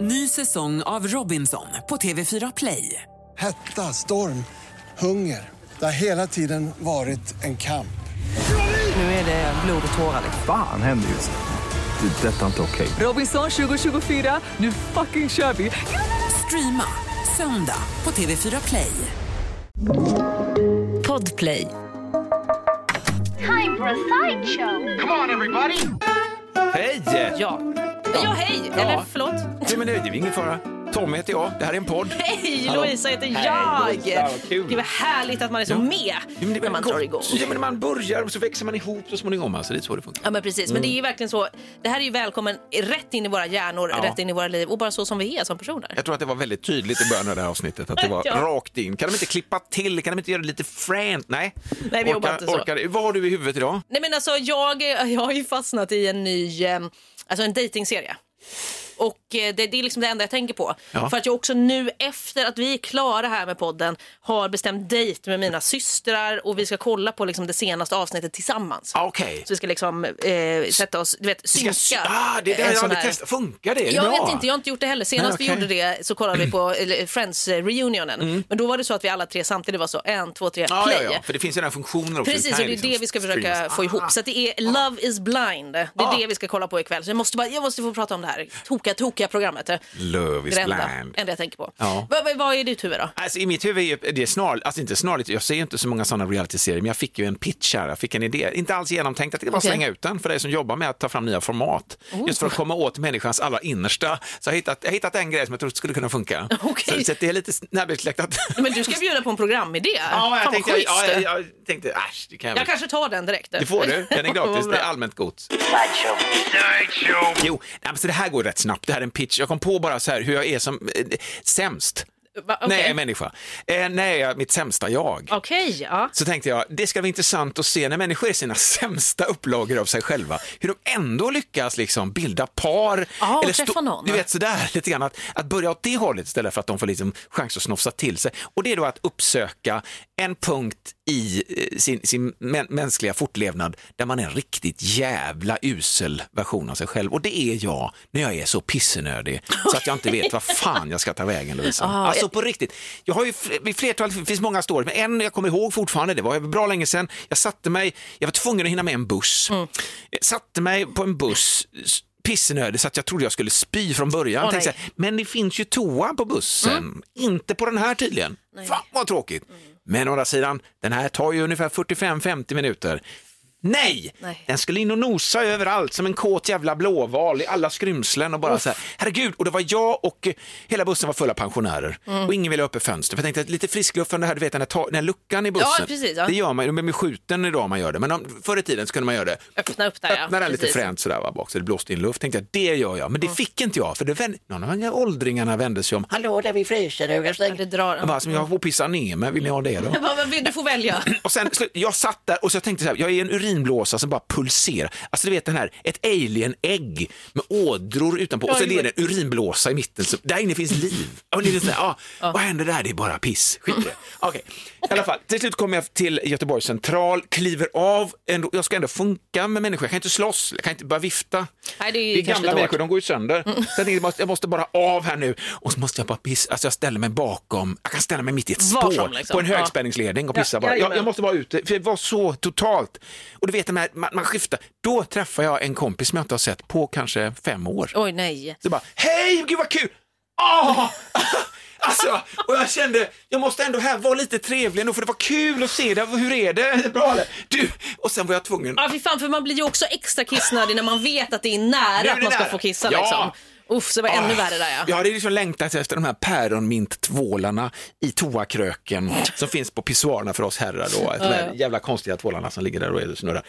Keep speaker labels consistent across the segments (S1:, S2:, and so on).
S1: Ny säsong av Robinson på TV4 Play.
S2: Hetta, storm, hunger. Det har hela tiden varit en kamp.
S1: Nu är det blod och tårar. liksom.
S3: Fan händer just nu. Det. är Detta är inte okej.
S1: Robinson 2024, nu fucking kör vi! Streama söndag på TV4 Play.
S4: Podplay.
S5: time for a sideshow.
S6: Hej!
S7: Ja. Ja, hej! Eller förlåt.
S6: Nej, men det är ju ingen fara. Tommy heter jag, det här är en podd.
S7: Hej,
S6: Hallå.
S7: Louisa heter
S6: Hej,
S7: jag!
S6: Louisa, vad kul.
S7: Det var härligt att man är så
S6: Ja.
S7: med
S6: Ja, men det är
S7: när man
S6: väl
S7: drar
S6: gott.
S7: igång.
S6: Ja, men man börjar och så växer man ihop så småningom. Alltså, det är så det funkar.
S7: Ja men precis, men det är ju verkligen så. Det här är ju välkommen rätt in i våra hjärnor,
S6: Mm. Ja.
S7: rätt in i våra liv och bara så som vi är som personer.
S6: Jag tror att det var väldigt tydligt i början av det här avsnittet att det var
S7: Ja.
S6: rakt in. Kan de inte klippa till? Kan de inte göra det lite fränt? Nej,
S7: Nej, vi jobbar inte så.
S6: orkar. Vad har du i huvudet idag?
S7: Nej men alltså jag, jag har ju fastnat i en ny, eh, alltså en dejtingserie. Och eh, det, det är liksom det enda jag tänker på.
S6: Ja.
S7: För att jag också nu efter att vi är klara här med podden har bestämt dejt med mina systrar och vi ska kolla på liksom det senaste avsnittet tillsammans.
S6: Ah, Okej.
S7: Så vi ska liksom eh, sätta oss, du vet,
S6: Vi
S7: synka.
S6: ska sy- Ah, det är
S7: en
S6: det jag
S7: sån
S6: aldrig
S7: här-
S6: testat. Funkar det? Är det
S7: Jag
S6: bra?
S7: vet inte, jag har inte gjort det heller. Senast
S6: Nej,
S7: vi
S6: okej. Mm.
S7: gjorde det så kollade vi på eller, Friends eh, reunionen. Men då var det så att vi alla tre samtidigt var så en, två, tre,
S6: Ja,
S7: play.
S6: ja, ja, för det finns ju den här funktionen också.
S7: Precis, och
S6: kan
S7: det är
S6: ju liksom
S7: det vi ska försöka
S6: streamas.
S7: få ihop. Så att det är Love is blind. Det är
S6: Ah.
S7: det vi ska kolla på ikväll. Så jag måste, bara, jag måste få prata om det här tokiga, tokiga programmet. Det är
S6: Love is
S7: det enda,
S6: blind.
S7: enda jag tänker på.
S6: Ja.
S7: Vad- vad- vad är ditt huvud då?
S6: Alltså, I mitt huvud är ju- det är snarligt, alltså inte snarligt, jag ser ju inte så många sådana realityserier, men jag fick ju en pitch här, jag fick en idé, inte alls genomtänkt, att det var
S7: Okej.
S6: slänga ut den för dig som jobbar med att ta fram nya format. Just för att komma åt människans allra innersta. Så jag har hittat, jag har hittat en grej som jag tror skulle kunna funka.
S7: Okej.
S6: Så, så att det är lite närbesläktat.
S7: Men du ska bjuda på en programidé.
S6: ja, jag
S7: Fan,
S6: tänkte,
S7: vad
S6: ja,
S7: schysst.
S6: jag, jag tänkte, äsch, det kan jag,
S7: Jag
S6: väl.
S7: kanske tar den direkt.
S6: Det får du, den är gratis,
S7: Vad bra.
S6: det är allmänt gods. Jo, nej, men så det här går rätt snabbt, det här är en pitch. Jag kom på bara så här hur jag är som eh, sämst.
S7: Va, okej.
S6: När jag är människa. Eh, när jag är mitt sämsta jag.
S7: Okej, ja.
S6: så tänkte jag, det ska bli intressant att se när människor är sina sämsta upplagor av sig själva, hur de ändå lyckas liksom bilda par.
S7: Ja, och träffa någon.
S6: Du vet sådär, lite grann att, att börja åt det hållet istället för att de får liksom chans att snofsa till sig. Och det är då att uppsöka en punkt i eh, sin, sin mä- mänskliga fortlevnad där man är en riktigt jävla usel version av sig själv. Och det är jag när jag är så pissenödig så att jag inte vet vad fan jag ska ta vägen Lovisa. alltså på riktigt. Jag har ju fl- vid flertal, det finns många stories, men en jag kommer ihåg fortfarande, det var bra länge sedan, jag satte mig, jag var tvungen att hinna med en buss. Jag satte mig på en buss s- pissnödig så att jag trodde jag skulle spy från början.
S7: Åh,
S6: Tänkte
S7: nej. Mm.
S6: så här, men det finns ju toa på bussen, inte på den här tydligen. Fan vad tråkigt. Men å andra sidan, den här tar ju ungefär 45-50 minuter. Nej!
S7: Nej.
S6: Den skulle in och nosa överallt som en kåt jävla blåval i alla skrymslen och bara så här, herregud, och det var jag och eh, hela bussen var fulla pensionärer
S7: Mm.
S6: och ingen ville ha öppet fönster. För jag tänkte att lite friskluft från det här, du vet den här, ta- den här luckan i bussen,
S7: precis, ja.
S6: det gör man ju, de är skjuten idag om man gör det, men om, förr i tiden så kunde man göra det.
S7: Öppna upp där, ja.
S6: Öppna den lite
S7: Precis.
S6: fränt sådär va, bak så det blåste in luft, tänkte jag, det gör jag, men det fick inte jag, för det vänd- någon av de här åldringarna vände sig om, hallå där vid fryshögen,
S7: Ja, Det drar.
S6: jag bara, som jag får pissa ner mig, vill ni ha det då?
S7: Vad- vad vill Du får välja.
S6: Och sen, slut- jag satt där och så tänkte så här, jag är en urinblåsa som bara pulserar. Alltså du vet den här, ett alien-ägg med ådror utanpå och så
S7: Oj,
S6: är
S7: oj.
S6: det en urinblåsa i mitten. Så, där inne finns liv. Och ni vet så här, ah, Vad händer där? Det är bara piss. Skit i det. Okej, i alla fall. Till slut kommer jag till Göteborgs central, kliver av. Ändå, jag ska ändå funka med människor. Jag kan inte slåss, jag kan inte bara vifta.
S7: Nej, det är ju
S6: det är
S7: kanske Mm.
S6: gamla
S7: lite
S6: människor,
S7: hårt.
S6: de går ju sönder. Så jag tänkte, jag måste- jag måste bara av här nu. Och så måste jag bara pissa. Alltså jag ställer mig bakom, jag kan ställa mig mitt i ett
S7: Var som,
S6: spår
S7: liksom.
S6: på en
S7: Ja.
S6: högspänningsledning och pissa
S7: Ja,
S6: bara. Jag,
S7: jajamän.
S6: jag måste vara ute, för det var så totalt. Och du vet, den här, man, man skiftar. Då träffar jag en kompis som jag inte har sett på kanske fem år.
S7: Oj, nej.
S6: Så bara, hej, gud vad kul! Åh! Alltså, och jag kände, jag måste ändå här vara lite trevlig ändå för det var kul att se dig, hur är det? Är det Bra eller? Du! Och sen var jag tvungen
S7: Ja, fy fan, för man blir ju också extra kissnödig när man vet att det är nära
S6: Nu är
S7: att
S6: det
S7: man ska
S6: nära.
S7: få kissa.
S6: Ja.
S7: Liksom. Uff, så det var ännu
S6: Ah,
S7: värre där
S6: Jag
S7: ja.
S6: hade liksom längtat efter de här päronminttvålarna i toakröken som finns på pissoarerna för oss herrar då. De här jävla konstiga tvålarna som ligger där och är- snurrar.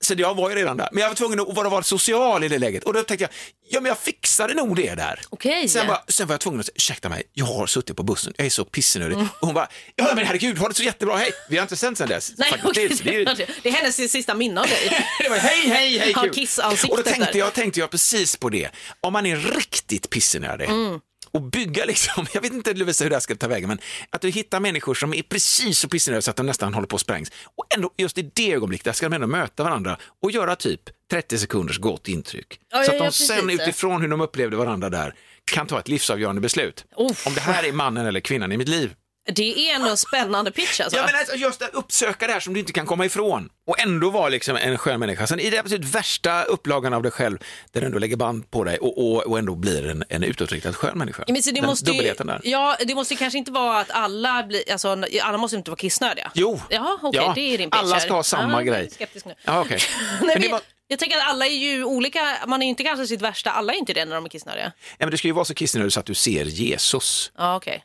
S6: Så jag var ju redan där, men jag var tvungen att vara, vara social i det läget och då tänkte jag, ja men jag fixade nog det där.
S7: Okej.
S6: Sen, bara, sen var jag tvungen att säga, ursäkta mig, jag har suttit på bussen, jag är så pissnödig. Och hon bara, ja men herregud, har det så jättebra, hej, vi har inte sänt sen dess.
S7: Nej,
S6: Faktiskt,
S7: okej,
S6: det är ju-
S7: det är hennes sista minne av dig.
S6: det var hej, hej, hej,
S7: Har
S6: kul.
S7: kissansiktet
S6: Och då tänkte
S7: där.
S6: jag, tänkte jag precis på det. Om man är riktigt pissnödig
S7: Mm.
S6: och bygga liksom, jag vet inte Lovisa hur det här ska ta vägen, men att du hittar människor som är precis så pissnödiga så att de nästan håller på att sprängs. Och ändå just i det ögonblicket, där ska de ändå möta varandra och göra typ 30 sekunders gott intryck. så
S7: Ja, ja,
S6: att de
S7: ja, precis.
S6: sen utifrån hur de upplevde varandra där kan ta ett livsavgörande beslut.
S7: Uff.
S6: Om det här är mannen eller kvinnan i mitt liv.
S7: Det är ändå en spännande pitch alltså.
S6: Ja, men alltså, just att uppsöka det här som du inte kan komma ifrån och ändå vara liksom en skön människa. Sen i den absolut värsta upplagan av dig själv, där du ändå lägger band på dig och, och, och ändå blir en, en utåtriktad skön människa.
S7: Ja, men så det
S6: den
S7: måste ju,
S6: dubbelheten där.
S7: ja, det måste ju kanske inte vara att alla blir, alltså, alla måste ju inte vara kissnödiga.
S6: Jo,
S7: Jaha, okej,
S6: Ja.
S7: det är din pitch
S6: alla
S7: här.
S6: ska ha samma
S7: Ja, jag är
S6: grej.
S7: skeptisk nu.
S6: Ja, okej.
S7: Nej,
S6: men
S7: men
S6: det var,
S7: jag, jag tänker att alla är ju olika, man är ju inte kanske sitt värsta, alla är inte det när de är kissnödiga.
S6: ja, men du ska ju vara så kristen så att du ser Jesus.
S7: Ja, okej.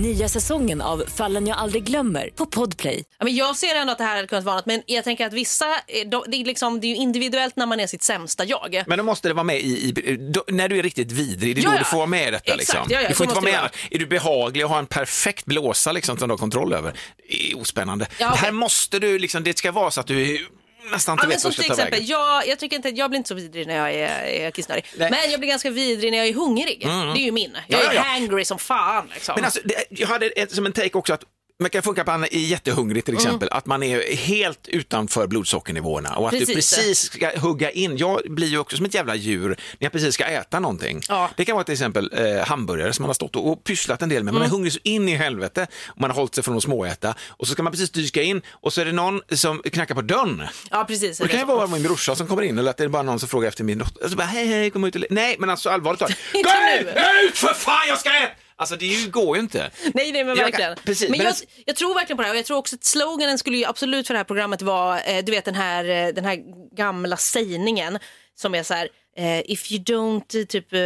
S4: Nya säsongen av Fallen jag aldrig glömmer på Podplay.
S7: Ja, men jag ser ändå att det här hade kunnat vara något, men jag tänker att vissa, eh, de, det, är liksom, det är ju individuellt när man är sitt sämsta jag.
S6: Men då måste det vara med i, i då, när du är riktigt vidrig, det är
S7: Ja,
S6: då
S7: ja.
S6: du får vara med i detta.
S7: Exakt,
S6: liksom.
S7: ja, ja,
S6: du
S7: så
S6: får inte vara
S7: måste
S6: med
S7: det vara.
S6: annars. Är du behaglig och har en perfekt blåsa liksom, som du har kontroll över? Det är ospännande.
S7: Ja, okej.
S6: Här måste du, liksom, det ska vara så att du nästan inte
S7: Ja, men
S6: vet vart du
S7: som till
S6: ska ta
S7: exempel,
S6: vägen.
S7: jag, jag, tycker inte, jag blir inte så vidrig när jag är, är kissnödig.
S6: Nej. Mm.
S7: Men jag blir ganska vidrig när jag är hungrig. Det är ju min. Jag
S6: Ja, ja,
S7: är
S6: ja.
S7: hangry som fan. Liksom.
S6: Men alltså, det, jag hade ett, som en take också att man kan funka på att man är jättehungrig
S7: Mm.
S6: till exempel, att man är helt utanför blodsockernivåerna och att du
S7: Precis.
S6: precis ska hugga in. Jag blir ju också som ett jävla djur när jag precis ska äta någonting.
S7: Ja.
S6: Det kan vara till exempel eh, hamburgare som man har stått och, och pysslat en del med. Man
S7: Mm.
S6: är hungrig så in i helvete och man har hållit sig från att småäta och så ska man precis dyka in och så är det någon som knackar på dörren.
S7: ja, precis.
S6: Och det kan ju
S7: Eller så.
S6: vara min brorsa som kommer in eller att det är bara någon som frågar efter min dotter. Alltså bara, hej, hej, kom ut och le-" Nej, men alltså allvarligt talat.
S7: Inte
S6: Gå
S7: nu.
S6: ut för fan, jag ska äta! Alltså det ju- går ju inte.
S7: Nej, nej men
S6: Jag
S7: verkligen.
S6: kan- precis,
S7: men
S6: men
S7: jag,
S6: alltså-
S7: jag tror verkligen på det här och jag tror också att sloganen skulle ju absolut för det här programmet vara, eh, du vet den här, eh, den här gamla sägningen som är så här, eh, if you don't, eh, typ, eh,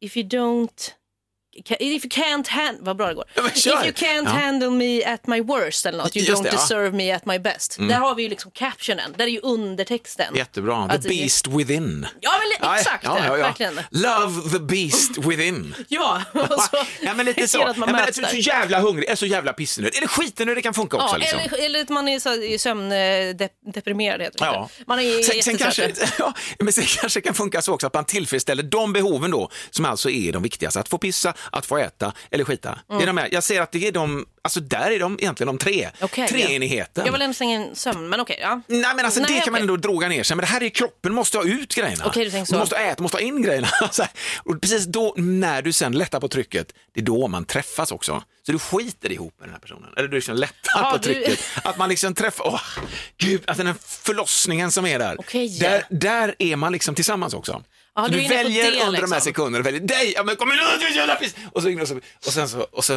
S7: if you don't ca- If you can't hand, vad bra det går.
S6: Ja, men
S7: If
S6: kör.
S7: you can't
S6: Ja.
S7: handle me at my worst eller något, you
S6: Just
S7: don't
S6: det, ja.
S7: deserve me at my best. Där har vi ju liksom captionen, där är ju undertexten.
S6: Mm. Jättebra. The
S7: Alltså, det-
S6: beast within.
S7: Ja men li-
S6: Nej,
S7: exakt,
S6: ja, ja, ja.
S7: verkligen.
S6: Love the beast within.
S7: Ja, och så,
S6: ja, men lite så.
S7: ser
S6: Ja,
S7: att man
S6: men jag är
S7: möts
S6: så
S7: där.
S6: jävla hungrig, jag är så jävla pissnödig. Eller skitnödig, det kan funka också.
S7: Ja,
S6: liksom.
S7: eller, eller att man är så här i sömn eh, dep- deprimerad heter det
S6: Ja.
S7: inte. Man är
S6: sen, sen,
S7: jättetrött.
S6: kanske, ja, men sen kanske kan funka så också att man tillfredsställer de behoven då som alltså är de viktigaste. Att få pissa, att få äta eller skita.
S7: Mm.
S6: Det är de här. Jag ser att det är de, alltså där är de egentligen de tre.
S7: Okej,
S6: Treenigheten.
S7: Jag vill ändå slänga in sömn, men okej. ja.
S6: Nej men alltså det
S7: Nej,
S6: kan man
S7: okej.
S6: ändå droga ner sig, men det här är ju kroppen måste ha ut grejerna.
S7: Okej, du tänker så.
S6: måste äta, måste ha in grejerna. Så här. och precis då, när du sen lättar på trycket, det är då man träffas också. Så du skiter ihop med den här personen, eller du liksom lättar
S7: Ja,
S6: på
S7: du-
S6: trycket. Att man liksom träffar, åh, gud, alltså den här förlossningen som är där.
S7: Okej.
S6: Där, där är man liksom tillsammans också.
S7: Ja,
S6: Så
S7: du är
S6: du
S7: inne på
S6: väljer
S7: det,
S6: under de här
S7: liksom.
S6: sekunderna, väljer dig, ja men kom igen nu, du jävla piss! Och så, och så, och sen så, och så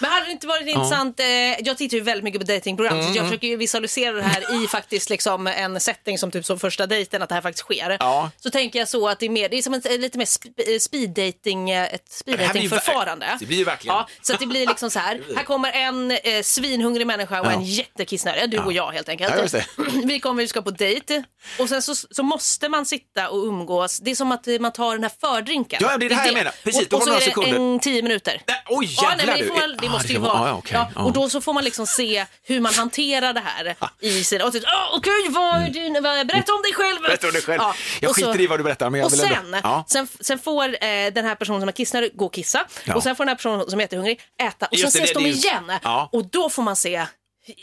S7: Men hade det inte varit intressant, eh, jag tittar ju väldigt mycket på datingprogram så
S6: Mm.
S7: jag försöker ju visualisera det här i faktiskt liksom en setting som typ som första dejten, att det här faktiskt sker.
S6: Ja.
S7: Så tänker jag så att det är, mer, det är som ett, eh, lite mer sp eh, speed dating, eh, ett speed
S6: Det här blir ju
S7: dating förfarande.
S6: ver- det blir ju verkligen.
S7: Ja, så att det blir liksom så här, här kommer en eh, svinhungrig människa och
S6: Ja.
S7: en jättekissnödig, du och jag helt enkelt.
S6: Ja, just det.
S7: Vi kommer, vi ska på dejt och sen så, så måste man sitta och umgås. Det är som att eh, man tar den här fördrinken.
S6: Ja, det är det här jag menar. Precis,
S7: och,
S6: då
S7: och
S6: har
S7: så
S6: du
S7: är
S6: några
S7: det
S6: sekunder.
S7: en tio minuter.
S6: Nej, oj,
S7: ja, nej,
S6: jävlar
S7: men det,
S6: du.
S7: får, väl- det
S6: Ah,
S7: måste
S6: det
S7: ju
S6: var- ja,
S7: vara.
S6: ja, okej.
S7: ja, och
S6: Ja. Ah.
S7: då så får man liksom se hur man hanterar det här i sin... Och typ, oh, okej, vad är din... vad- Berätta om dig själv!
S6: Mm. Berätta om dig själv. Jag
S7: och
S6: skiter i vad du berättar, men jag
S7: och
S6: vill ändå-
S7: sen,
S6: Ja.
S7: sen, sen får eh, den här personen som är kissnödig gå och kissa.
S6: Ja.
S7: Och sen får den här personen som är jättehungrig äta. Och
S6: Just
S7: sen
S6: det,
S7: ses
S6: det-
S7: de
S6: det är ju-
S7: igen.
S6: Ja.
S7: Och då får man se...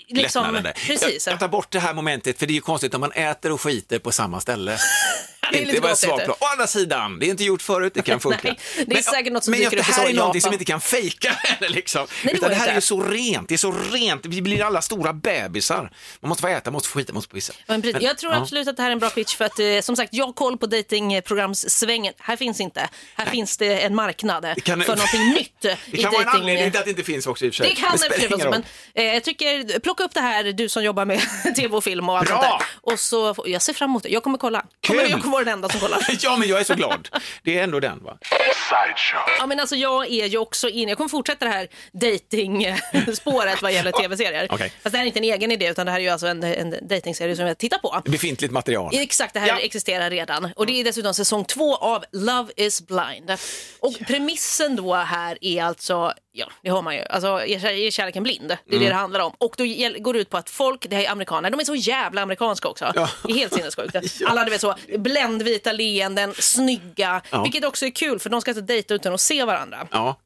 S7: Liksom,
S6: lättnaden där.
S7: precis.
S6: Jag, jag tar bort det här momentet för det är ju konstigt om man äter och skiter på samma ställe.
S7: det är
S6: inte
S7: lite
S6: bara
S7: konstigt.
S6: svag plan. Å andra sidan, det är inte gjort förut, det kan funka.
S7: Nej, det är säkert något som
S6: men
S7: dyker
S6: det
S7: upp i
S6: här
S7: så
S6: är någonting
S7: Japan.
S6: som inte kan fejka heller, liksom.
S7: det går
S6: Utan det här
S7: inte.
S6: är ju så rent, det är så rent. Vi blir alla stora bebisar. Man måste få äta, man måste få skita, man måste få pissa.
S7: Men, precis.
S6: Men-
S7: jag tror
S6: ja.
S7: absolut att det här är en bra pitch för att eh, som sagt, jag har koll på datingprogramssvängen. Här finns inte. Här finns det en marknad eh,
S6: kan-
S7: för någonting nytt eh,
S6: Det
S7: i
S6: kan vara en
S7: dating-
S6: anledning till att det inte finns också i och för sig.
S7: Det kan
S6: spelar
S7: det
S6: ingen
S7: också,
S6: roll.
S7: men eh, jag tycker plocka upp det här du som jobbar med tv och film och allt
S6: Bra!
S7: sånt där. Och så, jag ser fram emot det. Jag kommer kolla. Kommer,
S6: Kul!
S7: jag kommer kommer vara den enda som kollar.
S6: ja, men jag är så glad. Det är ändå den, va?
S7: Ja, men alltså, jag är ju också inne, jag kommer fortsätta det här dating-spåret vad gäller tv-serier.
S6: Okej.
S7: Fast det här är inte en egen idé utan det här är ju alltså en, en dating-serie som jag tittar på.
S6: Befintligt material.
S7: Exakt, det här
S6: Ja. Mm.
S7: existerar redan. Och det är dessutom säsong två av Love is blind. Och premissen då här är alltså, ja det har man ju, alltså är kär- är kärleken blind? Det
S6: Mm.
S7: är det det handlar om. Och då gäll- går det ut på att folk, det här är amerikaner, de är så jävla amerikanska också. Det är helt sinnessjukt. Alla du vet så, bländvita leenden, snygga.
S6: Ja.
S7: Vilket också är kul för de ska inte dejta utan att se varandra.
S6: Ja.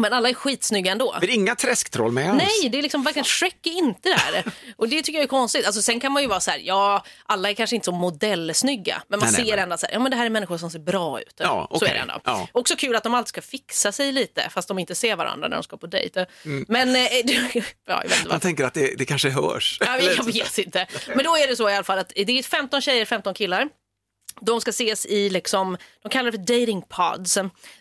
S7: Men alla är skitsnygga ändå.
S6: Men inga träsktroll med alls.
S7: Nej, det är liksom verkligen Shrek är inte där. Och det tycker jag är konstigt. Alltså, sen kan man ju vara så här, ja, alla är kanske inte så modellsnygga, men man
S6: Nej, nej,
S7: ser
S6: men-
S7: ändå så här, ja men det här är människor som ser bra ut.
S6: Ja,
S7: Så
S6: okej.
S7: är det ändå.
S6: Ja.
S7: Också kul att de alltid ska fixa sig lite, fast de inte ser varandra när de ska på dejt. Men, eh, ja, jag vet inte
S6: Mm. Man
S7: vad.
S6: tänker att det, det kanske hörs.
S7: Ja, Jag vet inte. Men då är det så i alla fall att det är 15 tjejer, 15 killar. De ska ses i, liksom, de kallar det för dating pods,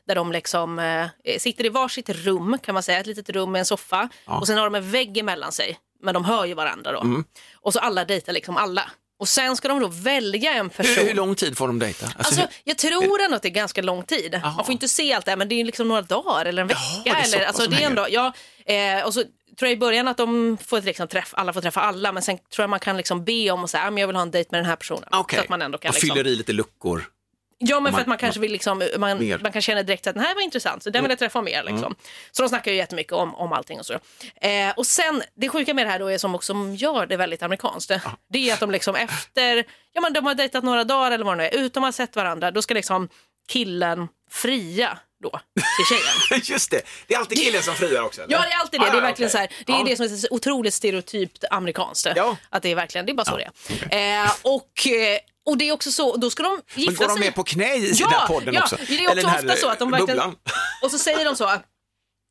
S7: där de liksom, eh, sitter i varsitt rum, kan man säga, ett litet rum med en soffa. Och sen har de en vägg emellan sig, men de hör ju varandra då.
S6: Mm.
S7: Och så alla dejtar liksom alla. Och sen ska de då välja en person.
S6: Hur, hur lång tid får de dejta? Alltså,
S7: Alltså,
S6: hur-
S7: jag tror ändå att det är ganska lång tid. Man får inte se allt det här, men det är ju liksom några dagar eller en vecka.
S6: Jaha, det är så
S7: eller,
S6: pass
S7: alltså,
S6: som
S7: det är ändå, ja, eh, och så tror jag i början att de får liksom träffa, alla får träffa alla, men sen tror jag man kan liksom be om och säga, "Ah, men jag vill ha en dejt med den här personen.
S6: Okej.
S7: Så att man ändå kan
S6: Och
S7: liksom,
S6: fyller i lite luckor.
S7: Ja, men för
S6: man-
S7: att man kanske vill liksom, man,
S6: Mer. Mm.
S7: man kan känna direkt att den här var intressant, så den vill jag träffa mer. Liksom. Så de snackar ju jättemycket om, om allting och så. Eh, och sen, det sjuka med det här då är som också gör det väldigt amerikanskt, det är att de liksom efter, ja men de har dejtat några dagar eller vad det nu är, ut, de har sett varandra, då ska liksom killen fria då till tjejen.
S6: Just det, det är alltid killen som friar också. eller?
S7: Ja, det är alltid det. Det är
S6: ja,
S7: verkligen
S6: Ah, okej.
S7: så här, det är
S6: Ja.
S7: det som är så otroligt stereotypt amerikanskt.
S6: Ja.
S7: Att det är verkligen, det är bara så det är. Eh, och, eh, och det är också så, då ska de gifta
S6: Men går de
S7: sig.
S6: med på knä i
S7: Ja,
S6: den här podden
S7: ja,
S6: också?
S7: det är också
S6: Eller den här
S7: ofta så att de verkligen-
S6: bubblan?
S7: Och så säger de så,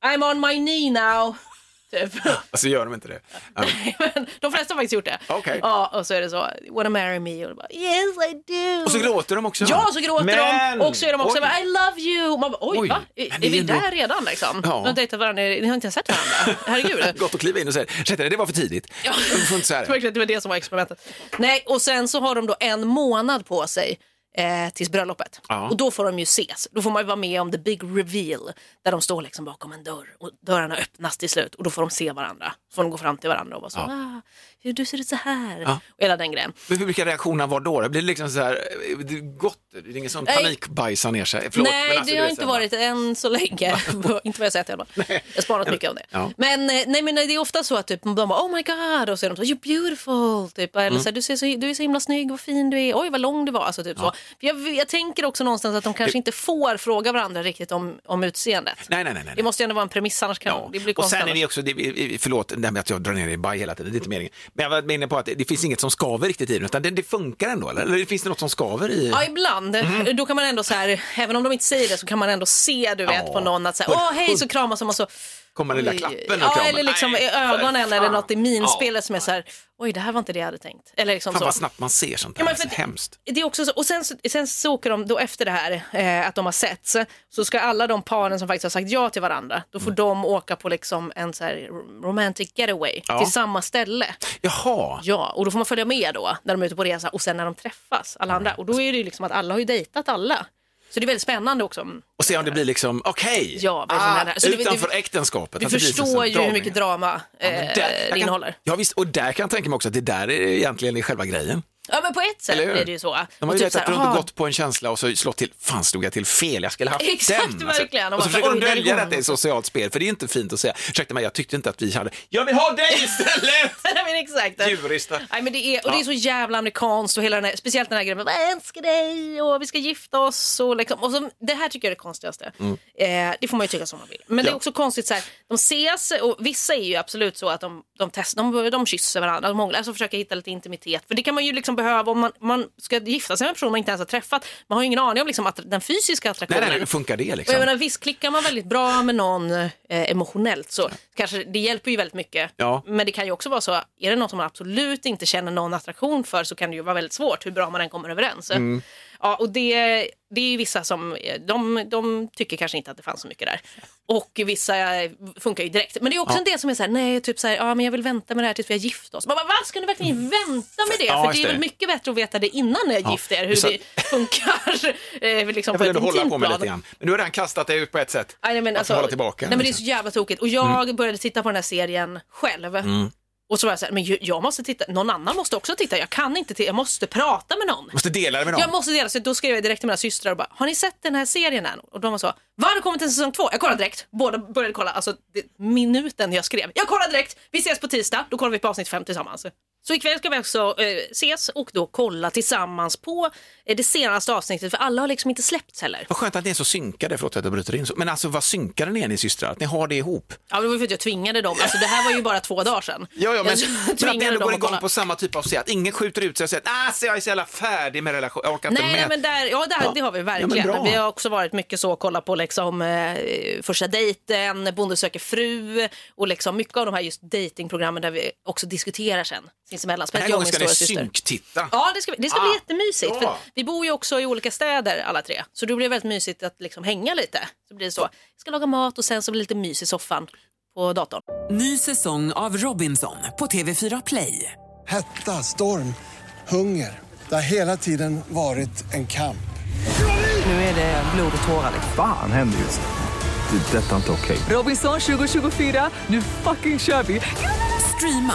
S7: I'm on my knee now. Typ.
S6: Alltså gör de inte det? Ja.
S7: Men de flesta har faktiskt gjort det.
S6: Okej.
S7: Ja, och så är det så, wanna marry me? Och, de bara, yes I do.
S6: Och så gråter de också?
S7: Ja, så gråter
S6: Men-
S7: de och så är de också
S6: Oj.
S7: bara, I love you. Och Man bara, oj,
S6: Oj,
S7: va? Är,
S6: men
S7: är
S6: det är
S7: vi
S6: ändå-
S7: där redan liksom?
S6: Ja.
S7: De har dejtat varandra, ni har inte ens sett varandra. Herregud.
S6: Gott att kliva in och säga, ursäkta det var för tidigt.
S7: Ja.
S6: Du får inte säga
S7: Det var
S6: det.
S7: verkligen- det var det som var experimentet. Nej, och sen så har de då en månad på sig eh, tills bröllopet.
S6: Ja.
S7: Och då får de ju ses. Då får man ju vara med om the big reveal. Där de står liksom bakom en dörr och dörrarna öppnas till slut. Och då får de se varandra. Så får de gå fram till varandra och vara så. Ah, hur du ser ut så här.
S6: Ja.
S7: Och hela den grejen.
S6: Men hur brukar reaktionerna vara då? Det blir liksom så här, eh, det är gott, det är ingen som
S7: Nej.
S6: panikbajsar ner sig. Förlåt,
S7: Nej,
S6: men alltså,
S7: det
S6: du
S7: har
S6: vet,
S7: inte
S6: så här,
S7: varit än så länge. inte vad jag sett i alla fall. Jag har sparat mycket om det.
S6: Ja.
S7: Men, eh, nej, men det är ofta så att typ, de bara oh my god och så är de så you're beautiful. Typ. Eller
S6: Mm.
S7: så här, du, ser så, du är så himla snygg, vad fin du är, oj vad lång du var. Alltså, typ så. För jag, jag tänker också någonstans att de kanske inte får fråga varandra riktigt om, om utseendet.
S6: Nej, nej, nej. nej.
S7: Det måste ju ändå vara en premiss annars kan
S6: Ja.
S7: det blir
S6: och
S7: konstigt.
S6: sen är det också, det, är- förlåt det här med att jag drar ner i baj hela tiden, det är inte meningen. Men jag var inne på att det, det finns inget som skaver riktigt i den, utan det, det funkar ändå, eller? eller finns det något som skaver i?
S7: Ja, ibland.
S6: Mm.
S7: Då kan man ändå så här, även om de inte säger det så kan man ändå se du vet
S6: Ja.
S7: på någon att så här, åh hej så kramas de och så
S6: Kommer den lilla
S7: Oj.
S6: klappen och
S7: Ja,
S6: kramen?
S7: eller liksom
S6: Nej,
S7: i ögonen
S6: för
S7: eller
S6: fan.
S7: något i minspelet som är så här, oj det här var inte det jag hade tänkt. Eller liksom
S6: Fan
S7: så.
S6: vad snabbt man ser sånt här,
S7: men
S6: alltså,
S7: för att-
S6: hemskt.
S7: Det är också så, och sen, så- sen så åker de då efter det här, eh, att de har sett så ska alla de paren som faktiskt har sagt ja till varandra, då
S6: Mm.
S7: får de åka på liksom en så här romantic getaway
S6: Ja.
S7: till samma ställe.
S6: Jaha,
S7: Ja, och då får man följa med då när de är ute på resa och sen när de träffas, alla
S6: Mm.
S7: andra. Och då är det ju liksom att alla har ju dejtat alla. Så det är väldigt spännande också.
S6: och se om det blir liksom, okej, Ah,
S7: Ja, vad är det som händer? Så alltså, det- det-
S6: utanför äktenskapet.
S7: Vi
S6: att det blir
S7: förstår
S6: liksom
S7: ju hur
S6: dragningar.
S7: mycket drama eh,
S6: Men jag
S7: det
S6: kan-
S7: innehåller.
S6: Ja, visst, och där kan jag tänka mig också att det där är egentligen är själva grejen.
S7: Ja men på ett sätt
S6: Eller hur?
S7: är det ju så.
S6: De
S7: Och
S6: har ju
S7: typ så
S6: letat
S7: här,
S6: runt och
S7: "Ah,
S6: gått på en känsla och så slått till, fan stod jag till fel, jag skulle haft
S7: Exakt,
S6: den. Alltså,
S7: verkligen.
S6: Och så
S7: Och bara,
S6: försöker de
S7: "Oj, där är
S6: dölja
S7: hon."
S6: att det är ett socialt spel, för det är inte fint att säga, ursäkta mig, jag tyckte inte att vi hade, jag vill ha dig istället!
S7: Nej, men exakt.
S6: Djurista.
S7: Nej, men det är, och det är så jävla amerikanskt och hela den här, speciellt den här grejen med "Jag älskar dig och vi ska gifta oss och liksom, och så, det här tycker jag är det konstigaste. Eh, det får man ju tycka som man vill. Men det är
S6: Mm. Ja.
S7: också konstigt så här, de ses och vissa är ju absolut så att de, de testar, de, de kysser varandra, de hånglar, alltså försöker hitta lite intimitet. För det kan man ju liksom behöva om man, man ska gifta sig med en person man inte ens har träffat. Man har ju ingen aning om liksom att den fysiska
S6: Nej,
S7: attraktionen.
S6: nej, nej, hur funkar det
S7: Och
S6: liksom?
S7: jag menar, visst klickar man väldigt bra med någon eh, emotionellt så kanske det hjälper ju väldigt mycket.
S6: Ja.
S7: Men det kan ju också vara så,
S6: Mm.
S7: är det någon som man absolut inte känner någon attraktion för så kan det ju vara väldigt svårt hur bra man än kommer överens. Ja, och det, det är ju vissa som eh, de, de tycker kanske inte att det fanns så mycket där. Och vissa eh, funkar ju direkt. Men det är också en del som är så här, nej, typ så här, ja, men jag vill vänta med det här tills vi har gift oss. Man bara, vad ska ni verkligen vänta med det?
S6: Mm. Ja,
S7: För
S6: just
S7: det är
S6: det.
S7: väl mycket bättre att veta det innan ni har gift er, hur
S6: Så-
S7: det funkar.
S6: Jag
S7: eh, liksom på
S6: vill
S7: ett
S6: ändå hålla
S7: intimt
S6: på med
S7: plan.
S6: lite grann. Men du har redan kastat dig ut på ett sätt.
S7: Nej, men
S6: Att
S7: alltså,
S6: hålla tillbaka. liksom. Mm.
S7: Nej, men det är så jävla tokigt. Och jag började titta på den här serien själv. Och så var jag så här, men ju- jag måste titta, någon annan måste också titta. Jag kan inte titta, jag måste prata med någon.
S6: Måste dela det med någon.
S7: Jag måste dela, så då skrev jag direkt till mina systrar och bara, har ni sett den här serien än? Och de var så, va har det kommit en säsong två? Jag kollade direkt, båda började kolla, alltså det, minuten jag skrev. Jag kollade direkt, vi ses på tisdag, då kollar vi på avsnitt fem tillsammans. Så ikväll ska vi också eh, ses och då kolla tillsammans på eh, det senaste avsnittet, för alla har liksom inte släppts heller.
S6: Vad skönt att ni är så synkade, förlåt att jag bryter in. så. Men alltså vad synkade ni är ni systrar, att ni har det ihop.
S7: Ja, men det var ju för att jag tvingade dem, alltså det här var ju bara två dagar sedan.
S6: men,
S7: Jag
S6: men att ni
S7: tvingade
S6: ändå
S7: dem
S6: går
S7: att
S6: igång
S7: kolla.
S6: på samma typ av sätt, att ingen skjuter ut sig och säger att "Ah, så jag är så jävla färdig med relation, jag orkar inte
S7: Nej,
S6: med.
S7: nej men där, ja, där,
S6: Ja.
S7: det har vi
S6: Ja, men
S7: verkligen.
S6: bra.
S7: vi har också varit mycket så, kolla på liksom, eh, första dejten, Bonde söker fru och liksom mycket av de här just datingprogrammen där vi också diskuterar sen sinsemellan.
S6: Den här
S7: Speciellt jag och
S6: gången
S7: min
S6: ska ni
S7: stora syster.
S6: synktitta.
S7: Ja, det ska, vi- det ska bli
S6: Ah,
S7: jättemysigt.
S6: ja.
S7: För vi bor ju också i olika städer alla tre, så det blir väldigt mysigt att liksom hänga lite. Så blir det så. Jag ska laga mat och sen så blir det lite mys i soffan på datorn.
S1: Ny säsong av Robinson på TV4 Play.
S2: Hetta, storm, hunger. Det har hela tiden varit en kamp.
S1: Nu är det blod och tårar.
S3: Fan händer just det. Det är detta inte okej.
S1: Robinson 2024, nu fucking kör vi! Streama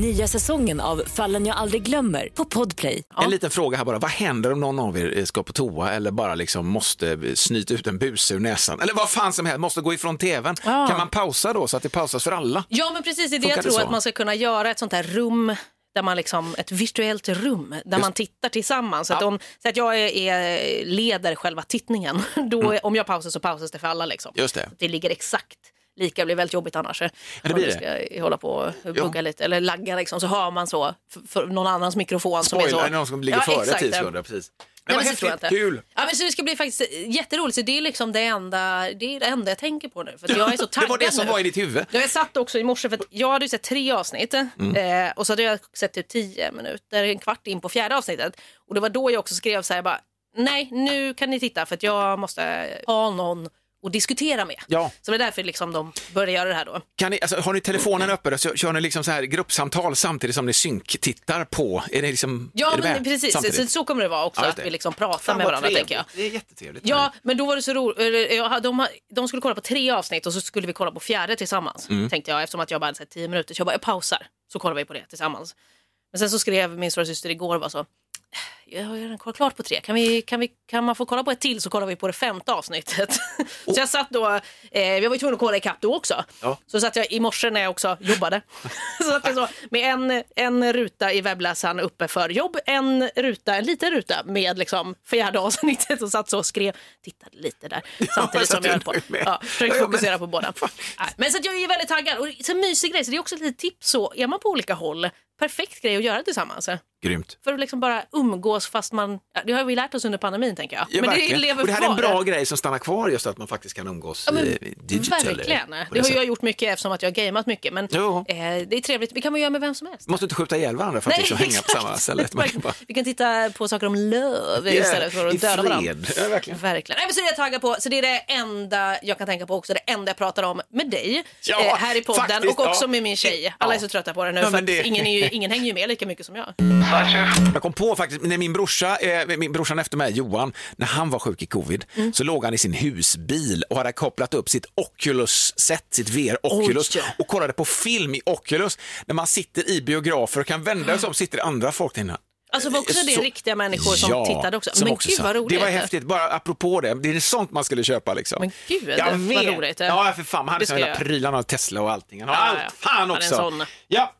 S4: Nya säsongen av Fallen jag aldrig glömmer på Podplay.
S6: En liten fråga här bara, vad händer om någon av er eh, ska på toa eller bara liksom måste eh, snyta ut en bus ur näsan? Eller vad fan som helst, måste gå ifrån tvn. Kan man pausa då så att det pausas för alla?
S7: Ja, men precis. Det är det
S6: Funkar
S7: jag
S6: det
S7: tror
S6: så?
S7: att man ska kunna göra ett sånt här rum där man liksom, ett virtuellt rum där man tittar tillsammans. Så att, om, så att jag är, är leder själva tittningen. Då, är- Om jag pausar så pausas det för alla. Liksom.
S6: Mm. Just det.
S7: Så att det ligger exakt lika, det blir väldigt jobbigt annars. Ja,
S6: det blir
S7: ska hålla på och bugga lite eller lagga liksom, så hör man så för, för någon annans mikrofon som är
S6: Spoiler,
S7: så.
S6: någon som ligger före
S7: exakt.
S6: 10 sekunder, precis. Men
S7: Nej, men
S6: vad
S7: så tror jag
S6: häftigt,
S7: inte.
S6: kul!
S7: Ja, men så det ska bli faktiskt eh, jätteroligt. Så det är liksom det enda, det är det enda jag tänker på nu. För att jag är så
S6: Det var
S7: taggad
S6: det som
S7: nu.
S6: var i ditt huvud.
S7: Ja, Jag satt också i morse för att jag hade ju sett tre avsnitt
S6: Mm.
S7: eh, och så hade jag sett typ tio minuter, en kvart in på fjärde avsnittet. Och det var då jag också skrev så här bara, nej nu kan ni titta för att jag måste ha någon att diskutera med.
S6: Ja.
S7: Så det är därför liksom de började göra det här då.
S6: Kan ni, alltså, har ni telefonen öppen och så kör ni liksom så här gruppsamtal samtidigt som ni synktittar på? Är det liksom,
S7: Ja
S6: är det
S7: men
S6: med
S7: precis, så,
S6: samtidigt?
S7: så, så kommer det vara också,
S6: Ja, just
S7: att
S6: det.
S7: vi liksom pratar
S6: Fan,
S7: med
S6: vad
S7: varandra
S6: trevligt.
S7: tänker jag.
S6: Det är jättetrevligt.
S7: Ja, men då var det så roligt. De, ha- de skulle kolla på tre avsnitt och så skulle vi kolla på fjärde tillsammans. Tänkte jag eftersom att jag bara hade sett tio minuter. Så jag bara, jag pausar. Så kollar vi på det tillsammans. Men sen så skrev min stora syster igår och var så. Jag har ju redan kollat klart på tre. Kan, vi, kan, vi, kan man få kolla på ett till så kollar vi på det femte avsnittet. Så jag satt då, eh, jag var ju tvungen att kolla ikapp då också.
S6: Ja.
S7: Så satt jag i morse när jag också jobbade. så satt jag så, med en, en ruta i webbläsaren uppe för jobb, en ruta, en liten ruta med liksom fjärde avsnittet och satt så och skrev, tittade lite där samtidigt
S6: så
S7: som
S6: att
S7: jag
S6: du
S7: höll på.
S6: är nöjd med.
S7: Ja, försökte
S6: Ja, men-
S7: fokusera på båda. Nej, Men så att jag är väldigt taggad. Och så en mysig grej, så det är också ett litet tips så, är man på olika håll, perfekt grej att göra tillsammans.
S6: Grymt.
S7: För att liksom bara umgås fast man, ja, det har vi lärt oss under pandemin tänker jag.
S6: Ja,
S7: men
S6: verkligen.
S7: det lever
S6: och det här är en
S7: kvar.
S6: bra grej som stannar kvar just att man faktiskt kan umgås
S7: Ja, men
S6: eh, digitally.
S7: Verkligen.
S6: På
S7: Det har
S6: sättet.
S7: jag gjort mycket eftersom att jag har gameat mycket. Men eh,
S6: Jo.
S7: det är trevligt. Det kan man göra med vem som helst.
S6: Måste inte skjuta ihjäl varandra för att liksom hänga på samma ställe. Man kan bara...
S7: Vi kan titta på saker om löv
S6: Yeah,
S7: istället för
S6: i
S7: att döda
S6: fred.
S7: varandra.
S6: Ja, verkligen.
S7: verkligen. Nej, men så det är jag taggad på. Så det är det enda jag kan tänka på också. Det enda jag pratar om med dig
S6: Ja,
S7: eh, här i podden
S6: faktiskt,
S7: och också
S6: ja.
S7: med min tjej. Alla är så trötta på det nu
S6: Ja,
S7: för
S6: men
S7: att
S6: det-
S7: ingen, är ju, ingen hänger ju med lika mycket som jag.
S6: Jag kom på faktiskt, när min brorsa, eh, min brorsan efter mig, Johan, när han var sjuk i covid,
S7: Mm.
S6: så låg han i sin husbil och hade kopplat upp sitt Oculus-set, sitt VR-Oculus,
S7: Oj.
S6: och kollade på film i Oculus. När man sitter i biografer och kan vända sig om, sitter andra folk innan.
S7: Alltså var också det
S6: Så-
S7: riktiga människor som
S6: Ja,
S7: tittade också?
S6: som
S7: men
S6: också
S7: gud
S6: sa-
S7: vad roligt.
S6: Det var häftigt, bara apropå det, det är sånt man skulle köpa liksom.
S7: Men gud,
S6: Jag
S7: vad
S6: vet.
S7: roligt.
S6: Ja, för fan, han hade
S7: Det
S6: såna
S7: ska
S6: jävla
S7: jag.
S6: prylar, han har Tesla och allting. Han har
S7: Ja,
S6: allt,
S7: ja.
S6: fan
S7: Han är en
S6: också.
S7: sån.
S6: Ja.